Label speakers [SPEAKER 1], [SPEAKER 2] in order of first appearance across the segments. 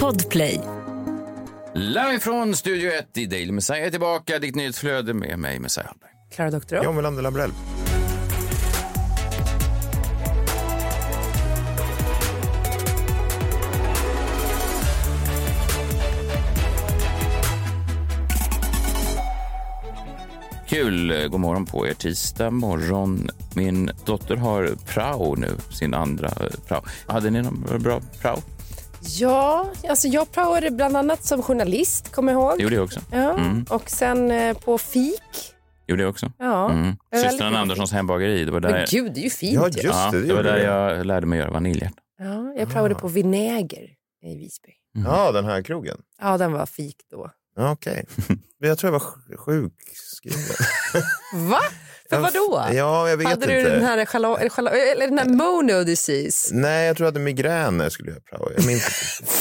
[SPEAKER 1] Podplay.
[SPEAKER 2] Live från Studio 1 i Daily Messiah är tillbaka. Ditt nyhetsflöde med mig, Messiah Hallberg.
[SPEAKER 1] Klara Doktorow.
[SPEAKER 3] John Wilander Lambrell.
[SPEAKER 4] Mm.
[SPEAKER 2] Kul. God morgon på er. Tisdag morgon. Min dotter har prao nu, sin andra eh, prao. Hade ni någon bra prao?
[SPEAKER 4] Ja, alltså jag praoade bland annat som journalist, kommer jag ihåg.
[SPEAKER 2] Gjorde jag också.
[SPEAKER 4] Ja.
[SPEAKER 2] Mm.
[SPEAKER 4] Och sen eh, på fik.
[SPEAKER 2] Gjorde jag också.
[SPEAKER 4] Ja.
[SPEAKER 2] Mm.
[SPEAKER 4] Det är väldigt
[SPEAKER 2] Systern
[SPEAKER 4] bra.
[SPEAKER 2] Anderssons hembageri. Det var där
[SPEAKER 4] Men
[SPEAKER 2] jag,
[SPEAKER 4] gud, det är ju fint.
[SPEAKER 3] Ja,
[SPEAKER 4] ju.
[SPEAKER 3] just
[SPEAKER 2] ja,
[SPEAKER 3] det.
[SPEAKER 2] det var
[SPEAKER 3] gjorde
[SPEAKER 2] där
[SPEAKER 3] du.
[SPEAKER 2] jag lärde mig göra vaniljhjärta.
[SPEAKER 4] Ja, jag praoade på vinäger i Visby.
[SPEAKER 3] Ja, den här krogen.
[SPEAKER 4] Ja, den var fik då.
[SPEAKER 3] Ja, Okej. Men Jag tror jag var sj- sjukskriven.
[SPEAKER 4] Va? För vad då?
[SPEAKER 3] Ja, jag vet
[SPEAKER 4] Hade du
[SPEAKER 3] inte.
[SPEAKER 4] den här, chala- eller chala- eller den här mono disease?
[SPEAKER 3] Nej, jag tror jag hade migrän när jag skulle göra prao. Jag minns inte.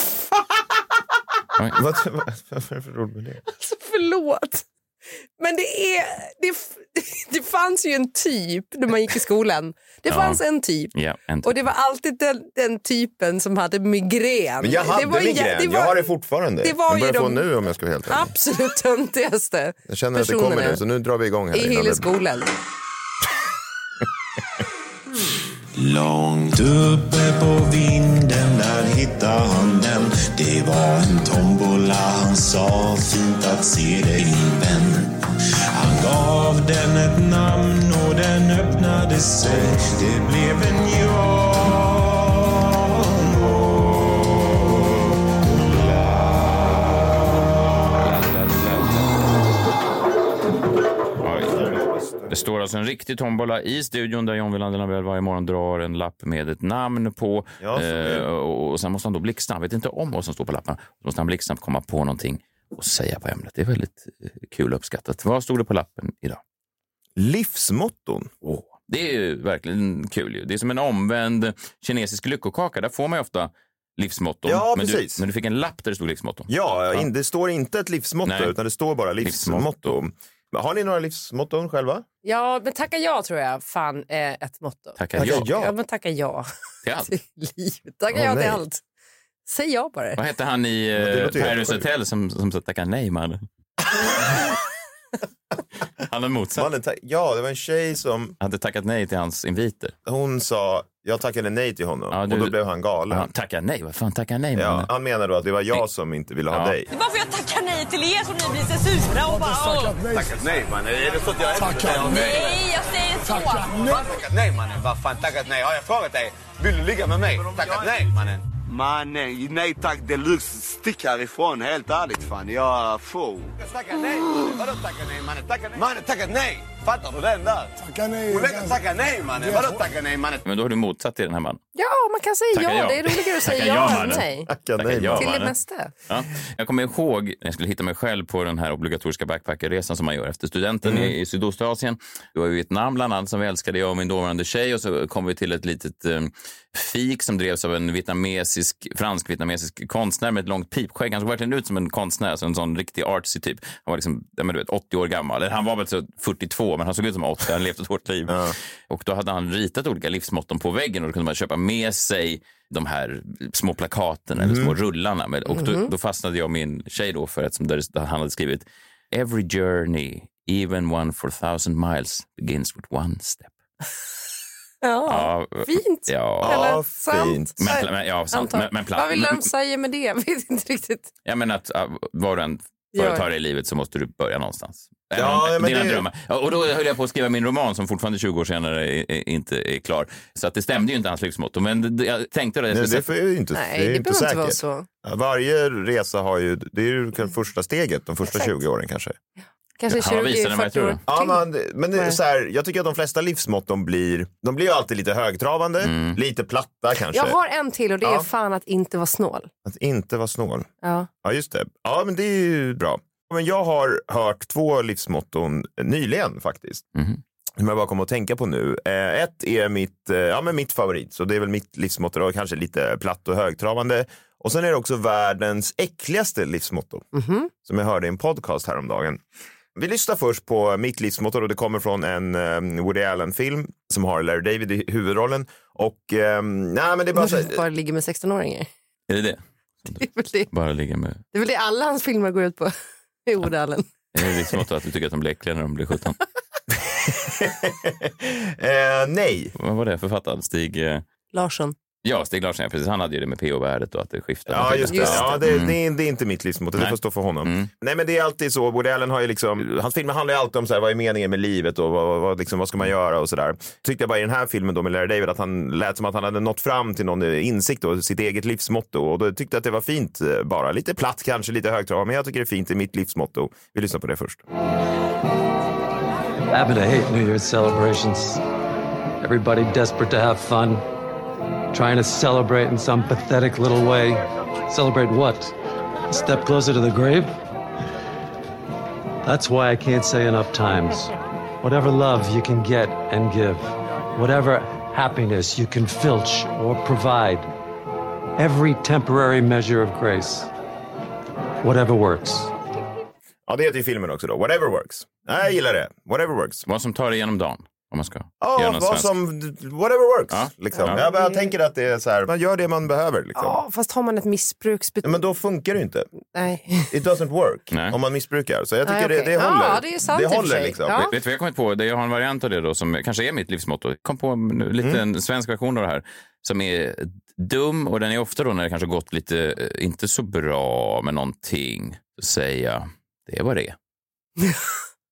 [SPEAKER 2] Oj.
[SPEAKER 3] Vad vad- vad är det för roligt med det?
[SPEAKER 4] Alltså förlåt. Men det, är, det, f- det fanns ju en typ när man gick i skolan. Det
[SPEAKER 2] Ja.
[SPEAKER 4] fanns en typ.
[SPEAKER 2] Ja, inte.
[SPEAKER 4] Och det var alltid den, den typen som hade migrän.
[SPEAKER 3] Men jag hade
[SPEAKER 4] det var en jä-
[SPEAKER 3] migrän.
[SPEAKER 4] det var-
[SPEAKER 3] Jag har det fortfarande.
[SPEAKER 4] det var
[SPEAKER 3] jag
[SPEAKER 4] ju
[SPEAKER 3] börjar
[SPEAKER 4] de-
[SPEAKER 3] få nu om jag ska vara helt ärlig.
[SPEAKER 4] Absolut töntigaste
[SPEAKER 3] Jag känner att det kommer nu, så nu drar vi igång här.
[SPEAKER 4] i
[SPEAKER 3] innan det-
[SPEAKER 4] Hilleskolan.
[SPEAKER 5] Långt uppe på vinden där hittade han den Det var en tombola han sa fint att se dig min vän Han gav den ett namn och den öppnade sig Det blev en jag
[SPEAKER 2] Oj. Det står alltså en riktig tombola i studion där John Wilander Lambrell varje morgon drar en lapp med ett namn på.
[SPEAKER 3] Ja, så är det.
[SPEAKER 2] Eh, och och sen måste han då blixtsnabbt, vet inte om vad som står på lappen, så måste han blixtsnabbt komma på någonting och säga på ämnet. Det är väldigt eh, kul och uppskattat. Vad stod det på lappen idag?
[SPEAKER 3] Livsmotton.
[SPEAKER 2] Åh, Det är ju verkligen kul. Ju. Det är som en omvänd kinesisk lyckokaka. Där får man ju ofta livsmotton.
[SPEAKER 3] Ja,
[SPEAKER 2] men, du,
[SPEAKER 3] precis.
[SPEAKER 2] men du fick en lapp där det stod livsmotton.
[SPEAKER 3] Ja, in, det står inte ett livsmotto,
[SPEAKER 2] Nej.
[SPEAKER 3] utan det står bara livsmotto.
[SPEAKER 2] Livsmotto.
[SPEAKER 3] Men Har ni några livsmotton själva?
[SPEAKER 4] Ja, men tacka ja tror jag fan är ett motto.
[SPEAKER 2] Tackar
[SPEAKER 3] Tackar
[SPEAKER 2] ja
[SPEAKER 3] ja.
[SPEAKER 4] men tacka ja
[SPEAKER 2] till allt.
[SPEAKER 4] till livet. Tacka
[SPEAKER 3] Åh,
[SPEAKER 4] ja till
[SPEAKER 3] nej.
[SPEAKER 4] allt. Säg ja bara.
[SPEAKER 2] Vad hette han i
[SPEAKER 3] det
[SPEAKER 2] eh,
[SPEAKER 3] låter ju
[SPEAKER 2] Paris
[SPEAKER 3] sjukt.
[SPEAKER 2] Hotel som, som sa tacka nej mannen? Han hade motsatt.
[SPEAKER 3] Mannen, ta- ja, det var en tjej som
[SPEAKER 2] hade tackat nej till hans inviter.
[SPEAKER 3] hon sa, jag tackade nej till honom
[SPEAKER 2] Ja, du-
[SPEAKER 3] och då blev han galen.
[SPEAKER 2] Han tackar nej, vad fan tackar nej
[SPEAKER 3] Ja,
[SPEAKER 2] mannen?
[SPEAKER 3] han menar då att det var jag som inte ville ha
[SPEAKER 2] Ja.
[SPEAKER 3] dig.
[SPEAKER 6] Varför jag tackar nej till er som ni blir så sura och bara... åh.
[SPEAKER 7] Tackat nej mannen, är det så att jag är Tackat
[SPEAKER 6] Nej, jag säger så.
[SPEAKER 7] Tackat nej mannen, vad fan tackat nej? Har jag frågat dig? Vill du ligga med mig? Tackat nej mannen. Mannen, nej tack deluxe. Stick härifrån, helt ärligt fan. Jag får. Tackat nej? Vadå tackat nej mannen? Tackat nej? Mannen, tackat nej! Fattar du den där? Tacka nej. Hon heter tacka nej mannen. Vadå tacka nej mannen?
[SPEAKER 2] Men då har du motsatt till den här mannen.
[SPEAKER 4] Ja, man kan säga
[SPEAKER 2] Tacka
[SPEAKER 4] ja.
[SPEAKER 2] ja.
[SPEAKER 4] Det är roligare att säga
[SPEAKER 2] Tacka ja,
[SPEAKER 4] ja än
[SPEAKER 2] mannen.
[SPEAKER 4] nej.
[SPEAKER 3] Tacka
[SPEAKER 2] Tackar
[SPEAKER 3] nej.
[SPEAKER 2] ja.
[SPEAKER 4] Till det
[SPEAKER 2] mannen.
[SPEAKER 4] mesta.
[SPEAKER 2] Ja. Jag kommer ihåg när jag skulle hitta mig själv på den här obligatoriska backpackerresan som man gör efter studenten i, i Sydostasien. Det var i Vietnam bland annat som vi älskade, jag och min dåvarande tjej. Och så kom vi till ett litet eh, fik som drevs av en vietnamesisk, fransk-vietnamesisk konstnär med ett långt pipskägg. Han såg verkligen ut som en konstnär, alltså en sån riktig artsy typ. Han var liksom, ja, men du vet, 80 år gammal. Eller Han var väl så 42, men han såg ut som 80. Han levt ett hårt liv. Och då hade han ritat olika livsmotton på väggen och då kunde man köpa med sig de här små plakaten eller små
[SPEAKER 4] Mm.
[SPEAKER 2] rullarna. Med, och då, då fastnade jag och min tjej då för att som där det- han hade skrivit Every journey, even one for thousand miles, begins with one step.
[SPEAKER 4] Ja,
[SPEAKER 2] Ja,
[SPEAKER 4] fint.
[SPEAKER 2] Ja,
[SPEAKER 4] Eller
[SPEAKER 3] Ja,
[SPEAKER 4] sant.
[SPEAKER 3] fint.
[SPEAKER 2] men, men, ja, sant,
[SPEAKER 4] Antar.
[SPEAKER 2] men, men
[SPEAKER 4] Vad
[SPEAKER 2] platt.
[SPEAKER 4] vill de säga med det? Jag vet inte riktigt.
[SPEAKER 2] Jag menar att äh, var du än
[SPEAKER 4] Ja.
[SPEAKER 2] företar dig i livet så måste du börja någonstans. Även
[SPEAKER 3] Ja,
[SPEAKER 2] om
[SPEAKER 3] men
[SPEAKER 2] dina
[SPEAKER 3] det-
[SPEAKER 2] drömmar. Ja, Och då höll jag på att skriva min roman som fortfarande 20 år senare är, är, inte är klar. Så att det stämde ju inte hans livsmotto. Men det- det, jag tänkte det. Jag
[SPEAKER 3] Nej,
[SPEAKER 2] skulle
[SPEAKER 3] det
[SPEAKER 2] säga-
[SPEAKER 3] får ju inte,
[SPEAKER 4] Nej,
[SPEAKER 3] det
[SPEAKER 4] det
[SPEAKER 3] är ju inte
[SPEAKER 4] behöver inte vara
[SPEAKER 3] säkert.
[SPEAKER 4] så. Mm.
[SPEAKER 3] Varje resa har ju, det är ju kanske första steget, de första
[SPEAKER 4] Exakt.
[SPEAKER 3] 20 åren kanske.
[SPEAKER 4] Kanske
[SPEAKER 2] Han var
[SPEAKER 4] 20,
[SPEAKER 2] visare än vad jag
[SPEAKER 4] 40 år.
[SPEAKER 2] trodde.
[SPEAKER 3] Ja,
[SPEAKER 4] till.
[SPEAKER 3] man, men det är
[SPEAKER 4] Nej.
[SPEAKER 3] så här, jag tycker att de flesta livsmotton blir, de blir ju alltid lite högtravande,
[SPEAKER 2] Mm.
[SPEAKER 3] lite platta kanske.
[SPEAKER 4] Jag har en till och det är
[SPEAKER 3] Ja.
[SPEAKER 4] fan att inte vara snål.
[SPEAKER 3] Att inte vara snål.
[SPEAKER 4] Ja.
[SPEAKER 3] Ja, just det. Ja, men det är ju bra. Men jag har hört två livsmotton nyligen faktiskt.
[SPEAKER 2] Mhm.
[SPEAKER 3] Som jag bara kom att tänka på nu. Eh, ett är mitt, eh, ja, men mitt favorit, så det är väl mitt livsmotto och kanske lite platt och högtravande. Och sen är det också världens äckligaste livsmotto. Som jag hörde i en podcast häromdagen. Vi lyssnar först på mitt livsmotto och det kommer från en eh, Woody Allen-film som har Larry David i huvudrollen. Och, eh, nej, men det är bara så här,
[SPEAKER 4] Bara ligger med 16-åringar.
[SPEAKER 2] Är det det?
[SPEAKER 4] Det är väl det,
[SPEAKER 2] Bara ligga med...
[SPEAKER 4] det, är väl det alla hans filmer går ut på i Odalen.
[SPEAKER 2] Är det liksom att du tycker att de blir äckliga när de blir 17?
[SPEAKER 3] Eh, nej.
[SPEAKER 2] Vad var det författaren? Stig... eh,
[SPEAKER 4] Larsson.
[SPEAKER 2] Ja, Stig Larsson. Ja, precis. Han hade ju det med PO-värdet och att det skiftade.
[SPEAKER 3] Ja, just det. Mm.
[SPEAKER 4] Just
[SPEAKER 3] Ja, det, det, är, det är inte mitt livsmotto. Det får stå för honom. Nej, men det är alltid så. Woody Allen har ju liksom, hans filmer handlar ju alltid om så här, vad är meningen med livet och vad, vad- vad, liksom, vad ska man göra och sådär. Tyckte jag bara i den här filmen då med Larry David att han lät som att han hade nått fram till någon eh, insikt och sitt eget livsmotto. Och då tyckte jag att det var fint eh, bara. Lite platt kanske, lite högtravat, men jag tycker det är fint. Det är mitt livsmotto. Vi lyssnar på det först.
[SPEAKER 1] Happen to hate New Year's celebrations. Everybody desperate to have fun, trying to celebrate in some pathetic little way. Celebrate what? A step closer to the grave? That's why I can't say enough times. Whatever love you can get and give, whatever happiness you can filch or provide, every temporary measure of grace, whatever works.
[SPEAKER 3] Ja, det heter ju filmen också då. Whatever works. Nej, jag gillar det. Whatever works.
[SPEAKER 2] Vad som tar dig igenom dagen, om man ska
[SPEAKER 3] Ja,
[SPEAKER 2] göra någon
[SPEAKER 3] vad
[SPEAKER 2] svensk.
[SPEAKER 3] som, whatever works.
[SPEAKER 2] Ja.
[SPEAKER 3] Liksom.
[SPEAKER 2] Ja.
[SPEAKER 3] Ja. men jag tänker att det är så här, man gör det man behöver. Liksom.
[SPEAKER 4] Ja, fast har man ett
[SPEAKER 3] Ja,
[SPEAKER 4] missbruksbeteende...
[SPEAKER 3] men då funkar det ju inte.
[SPEAKER 4] Nej.
[SPEAKER 3] It doesn't work
[SPEAKER 2] Nej.
[SPEAKER 3] om man missbrukar. Så jag
[SPEAKER 4] Nej,
[SPEAKER 3] tycker det,
[SPEAKER 4] Ah, okej.
[SPEAKER 3] det håller.
[SPEAKER 4] Ja, det är sant i och för
[SPEAKER 3] håller
[SPEAKER 4] sig.
[SPEAKER 3] liksom.
[SPEAKER 4] Ja.
[SPEAKER 2] Vet du vad jag har kommit på? Det- Jag har en variant av det då som kanske är mitt livsmotto. Jag kom på en liten svensk version av det här som är dum och den är ofta då när det kanske gått lite eh, inte så bra med någonting. Så säger jag, det var det.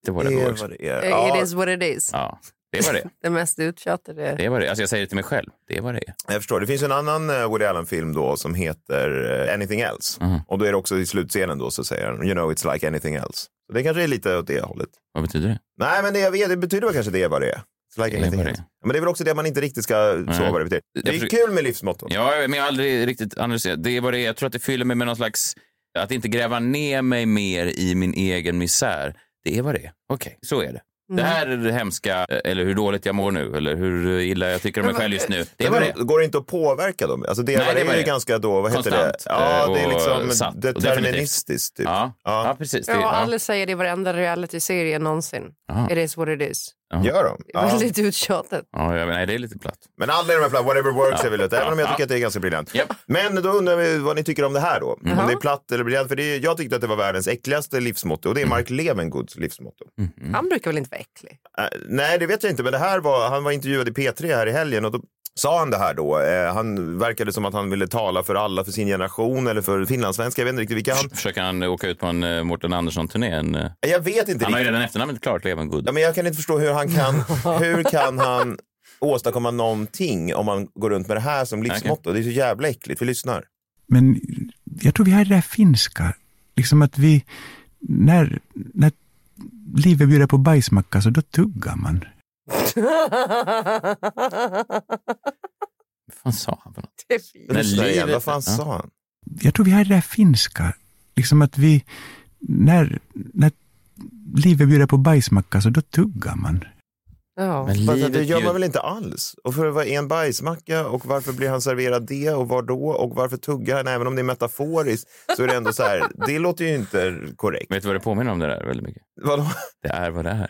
[SPEAKER 2] Det var det.
[SPEAKER 3] Det
[SPEAKER 2] det
[SPEAKER 3] är
[SPEAKER 2] också.
[SPEAKER 3] vad det är.
[SPEAKER 4] It
[SPEAKER 3] Ja,
[SPEAKER 4] is what it is.
[SPEAKER 2] Ja, det var det.
[SPEAKER 4] Det mest uttjatade.
[SPEAKER 2] Det var det. Alltså jag säger det till mig själv. Det var det.
[SPEAKER 3] jag förstår. Det finns en annan eh, Woody Allen-film då som heter eh, Anything Else.
[SPEAKER 2] Mhm.
[SPEAKER 3] Och då är det också i slutscenen då så säger han, you know it's like anything else. Så det kanske är lite åt det hållet.
[SPEAKER 2] Vad betyder det?
[SPEAKER 3] Nej, men det, jag vet, det betyder väl kanske det är vad det är. It's like
[SPEAKER 2] Det är
[SPEAKER 3] anything
[SPEAKER 2] vad det
[SPEAKER 3] else. Men det är väl också det man inte riktigt ska så vad det betyder. Det är
[SPEAKER 2] försöker-
[SPEAKER 3] kul med livsmotton.
[SPEAKER 2] Ja, men jag har aldrig riktigt analyserat. Det är vad det är. Jag tror att det fyller mig med någon slags... Att inte gräva ner mig mer i min egen misär. Det är vad det är. Okej, så är det.
[SPEAKER 3] Mm.
[SPEAKER 2] Det här är det hemska, eh, eller hur dåligt jag mår nu, eller hur illa jag tycker om mig själv just nu. Det är vad det är.
[SPEAKER 3] Men Går det inte att påverka dem? Alltså det,
[SPEAKER 2] Nej,
[SPEAKER 3] var det
[SPEAKER 2] det var
[SPEAKER 3] är ju
[SPEAKER 2] det.
[SPEAKER 3] ganska då, vad heter det?
[SPEAKER 2] Konstant,
[SPEAKER 3] Ja,
[SPEAKER 2] eh,
[SPEAKER 3] det är
[SPEAKER 2] och
[SPEAKER 3] liksom
[SPEAKER 2] satt, och
[SPEAKER 3] deterministiskt. Typ.
[SPEAKER 2] Ja, ja. precis. Det,
[SPEAKER 4] Ja,
[SPEAKER 2] ja.
[SPEAKER 4] alla säger det i varenda realityserie någonsin.
[SPEAKER 2] Ja.
[SPEAKER 4] It is what it is.
[SPEAKER 3] Gör de?
[SPEAKER 4] Det är
[SPEAKER 3] Ja.
[SPEAKER 4] Väldigt uttjatat.
[SPEAKER 2] Ja, jag, nej, det är lite platt.
[SPEAKER 3] Men alla i de här plattorna, whatever works är väl rätt, även om jag
[SPEAKER 2] Ja.
[SPEAKER 3] tycker att det är ganska briljant.
[SPEAKER 2] Japp.
[SPEAKER 3] Men då undrar vi vad ni tycker om det här då. Om det är platt eller briljant. För det är, jag tyckte att det var världens äckligaste livsmotto och det är
[SPEAKER 2] Mm.
[SPEAKER 3] Mark Levengoods livsmotto.
[SPEAKER 4] Han brukar väl inte vara äcklig?
[SPEAKER 3] Eh, nej, det vet jag inte, men det här var, han var intervjuad i P3 här i helgen och då sa han det här då. Eh, han verkade som att han ville tala för alla, för sin generation eller för finlandssvenskar. Jag vet inte riktigt vilka han... Äh,
[SPEAKER 2] Försöker han åka ut på en uh, Mårten Andersson-turné? En, eh,
[SPEAKER 3] Jag vet inte
[SPEAKER 2] han har ju
[SPEAKER 3] riktigt.
[SPEAKER 2] redan efternamnet klart, Levengood.
[SPEAKER 3] Ja, men jag kan inte förstå hur han kan, hur kan han åstadkomma någonting om man går runt med det här som livsmotto. Det är så jävla äckligt. Vi lyssnar.
[SPEAKER 8] Men jag tror vi har det där finska, liksom att vi, när, när livet bjuder på bajsmacka så då tuggar man.
[SPEAKER 2] Vad fan sa han för något?
[SPEAKER 4] Det är fint.
[SPEAKER 2] Men
[SPEAKER 3] Lyssna igen.
[SPEAKER 2] livet-
[SPEAKER 3] Vad fan
[SPEAKER 2] ja.
[SPEAKER 3] sa han?
[SPEAKER 8] Jag tror vi har det där finska, liksom att vi, när, när livet bjuder på bajsmacka så då tuggar man.
[SPEAKER 4] Ja.
[SPEAKER 2] Men
[SPEAKER 3] Fast att
[SPEAKER 2] livet
[SPEAKER 3] det gör
[SPEAKER 2] bjud-
[SPEAKER 3] man väl inte alls? Och för vad är en bajsmacka och varför blir han serverad det och var då och varför tuggar han? Även om det är metaforiskt så är det ändå så här, det låter ju inte korrekt.
[SPEAKER 2] Vet du vad det påminner om det där väldigt mycket?
[SPEAKER 3] Vadå?
[SPEAKER 2] Det är vad det är.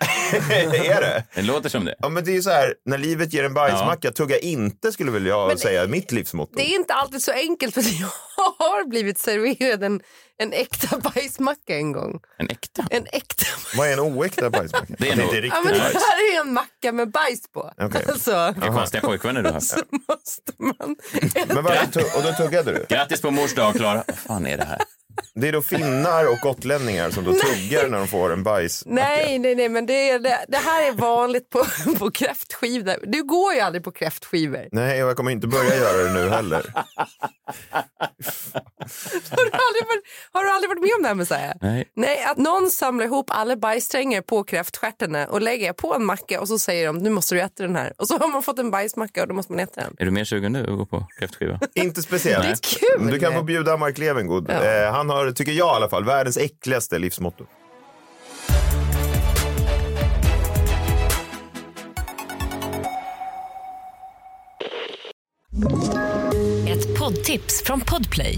[SPEAKER 3] är det?
[SPEAKER 2] Det låter som det.
[SPEAKER 3] Ja men det är ju så här, när livet ger en bajsmacka, tugga inte skulle väl jag säga mitt livsmotto.
[SPEAKER 4] Det är inte alltid så enkelt för jag har blivit serverad en, en äkta bajsmacka en gång.
[SPEAKER 2] En äkta.
[SPEAKER 4] En äkta
[SPEAKER 3] Vad är en oäkta bajsmacka?
[SPEAKER 2] Det är
[SPEAKER 3] Att
[SPEAKER 2] nog-
[SPEAKER 3] inte är
[SPEAKER 4] ja,
[SPEAKER 3] riktigt
[SPEAKER 4] men Det
[SPEAKER 3] bajs.
[SPEAKER 4] här är en macka med bajs på.
[SPEAKER 3] Okej.
[SPEAKER 4] Alltså,
[SPEAKER 2] Vilka konstiga pojkvänner du har.
[SPEAKER 4] så måste man...
[SPEAKER 3] Men varför tu- och då tuggade du?
[SPEAKER 2] Grattis på mors dag, Klara. Vad fan är det här?
[SPEAKER 3] Det är då finnar och gotlänningar som då tuggar när de får en bajsmacka.
[SPEAKER 4] Nej, nej, nej, men det, är, det, det här är vanligt på, på kräftskivor. Du går ju aldrig på kräftskivor.
[SPEAKER 3] Nej, och jag kommer inte börja göra det nu heller.
[SPEAKER 4] Har du aldrig varit, har du aldrig varit med om det här Messiah?
[SPEAKER 2] Nej.
[SPEAKER 4] Nej, att någon samlar ihop alla bajsstränger på kräftstjärtarna och lägger på en macka och så säger de nu måste du äta den här. Och så har man fått en bajsmacka och då måste man äta den.
[SPEAKER 2] Är du mer sugen nu att gå på kräftskiva?
[SPEAKER 3] Inte speciellt.
[SPEAKER 4] Det är kul.
[SPEAKER 3] Du kan få bjuda Mark Levengood.
[SPEAKER 4] Ja.
[SPEAKER 3] Eh, han har, tycker jag i alla fall, världens äckligaste livsmotto.
[SPEAKER 9] Ett poddtips från Podplay.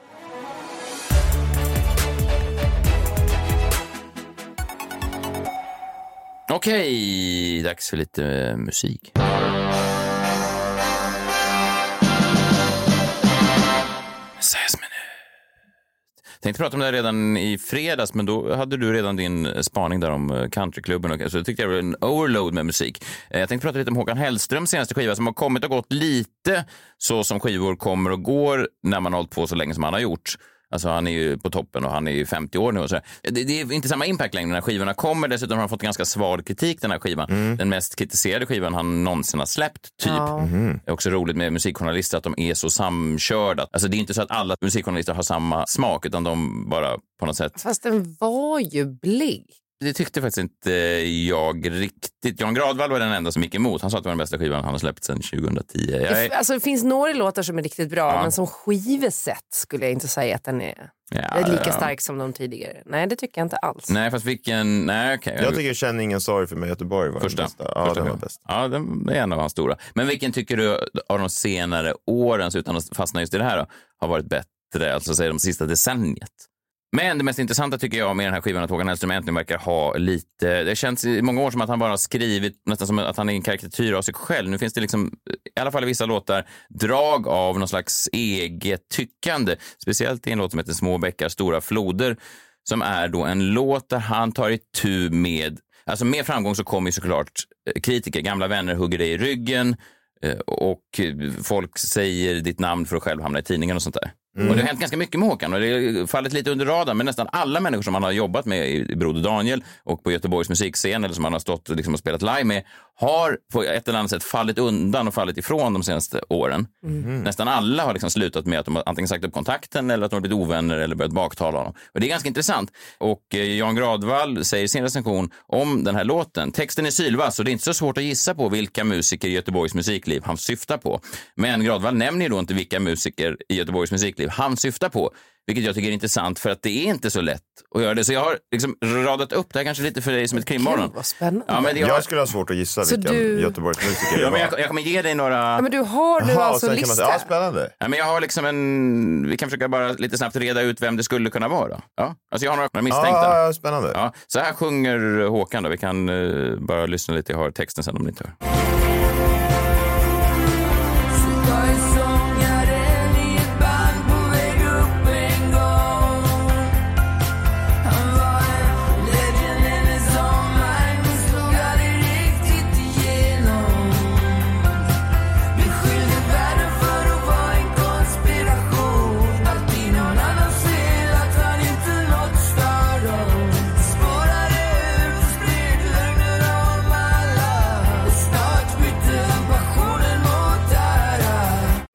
[SPEAKER 2] Okej, dags för lite eh, musik. Ses minut. Tänkte prata om det här redan i fredags, men då hade du redan din spaning där om eh, countryklubben. och- Så jag tyckte jag det var en overload med musik. Eh, Jag tänkte prata lite om Håkan Hellströms senaste skiva som har kommit och gått lite så som skivor kommer och går när man har hållit på så länge som han har gjort. Alltså han är ju på toppen och han är ju 50 år nu. Och så där. det, det är inte samma impact längre när skivorna kommer. Dessutom har han fått ganska sval kritik den här skivan. Den mest kritiserade skivan han någonsin har släppt, typ. Det är också roligt med musikjournalister att de är så samkörda. Alltså det är inte så att alla musikjournalister har samma smak utan de bara på något sätt.
[SPEAKER 4] Fast den var ju blig.
[SPEAKER 2] Det tyckte faktiskt inte jag riktigt. Jan Gradvall var den enda som gick emot. Han sa att det var den bästa skivan han har släppt sedan 2010. Jag
[SPEAKER 4] Det,
[SPEAKER 2] är...
[SPEAKER 4] alltså, det finns några låtar som är riktigt bra,
[SPEAKER 2] Ja.
[SPEAKER 4] men som skivesätt skulle jag inte säga att den är
[SPEAKER 2] Ja,
[SPEAKER 4] lika
[SPEAKER 2] ja.
[SPEAKER 4] stark som de tidigare. Nej, det tycker jag inte alls.
[SPEAKER 2] Nej, fast vilken... Nej, okej.
[SPEAKER 3] Jag tycker Känn ingen sorg för mig Göteborg var
[SPEAKER 2] Första.
[SPEAKER 3] den bästa. Ja,
[SPEAKER 2] Första
[SPEAKER 3] den var
[SPEAKER 2] skivan.
[SPEAKER 3] bäst.
[SPEAKER 2] Ja, den är en av hans stora. Men vilken tycker du av de senare årens, utan att fastna just i det här, då, har varit bättre? Alltså säg de sista decenniet. Men det mest intressanta tycker jag med den här skivan att Håkan Hellström äntligen verkar ha lite... Det känns i många år som att han bara har skrivit nästan som att han är en karikatyr av sig själv. Nu finns det liksom, i alla fall i vissa låtar, drag av någon slags eget tyckande. Speciellt i en låt som heter Små bäckar, stora floder som är då en låt där han tar itu med... Alltså med framgång så kommer ju såklart eh, kritiker. Gamla vänner hugger dig i ryggen eh, och eh, folk säger ditt namn för att själv hamna i tidningen och sånt där. Och det har hänt ganska mycket med Håkan och det har fallit lite under radarn men nästan alla människor som han har jobbat med i i Broder Daniel och på Göteborgs musikscen eller som han har stått och liksom och spelat live med har på ett eller annat sätt fallit undan och fallit ifrån de senaste åren. Nästan alla har liksom slutat med att de har antingen sagt upp kontakten eller att de har blivit ovänner eller börjat baktala honom. Och det är ganska intressant. Och eh, Jan Gradvall säger i sin recension om den här låten. Texten är sylvass och det är inte så svårt att gissa på vilka musiker i Göteborgs musikliv han syftar på. Men Gradvall nämner ju då inte vilka musiker i Göteborgs musikliv han syftar på. Vilket jag tycker är intressant för att det är inte så lätt att göra det. Så jag har liksom radat upp det här kanske lite för dig som ett krimmorgon.
[SPEAKER 4] Gud, vad spännande.
[SPEAKER 2] Ja, men jag,
[SPEAKER 3] Jag skulle ha svårt att gissa
[SPEAKER 4] Så
[SPEAKER 3] vilken
[SPEAKER 4] du-
[SPEAKER 3] Göteborgsmusiker det
[SPEAKER 2] ja,
[SPEAKER 3] var.
[SPEAKER 2] men jag, jag kommer ge dig några...
[SPEAKER 4] Ja, men du har du
[SPEAKER 3] Jaha,
[SPEAKER 4] alltså
[SPEAKER 3] sen
[SPEAKER 4] en
[SPEAKER 3] kan man
[SPEAKER 4] lista.
[SPEAKER 3] säga, Ja, spännande.
[SPEAKER 2] Ja, men jag har liksom en... Vi kan försöka bara lite snabbt reda ut vem det skulle kunna vara. Ja. Alltså jag har några, några misstänkta.
[SPEAKER 3] Ja, spännande.
[SPEAKER 2] Ja. Så här sjunger Håkan. Då. Vi kan eh, bara lyssna lite. Jag har texten sen om ni inte hör.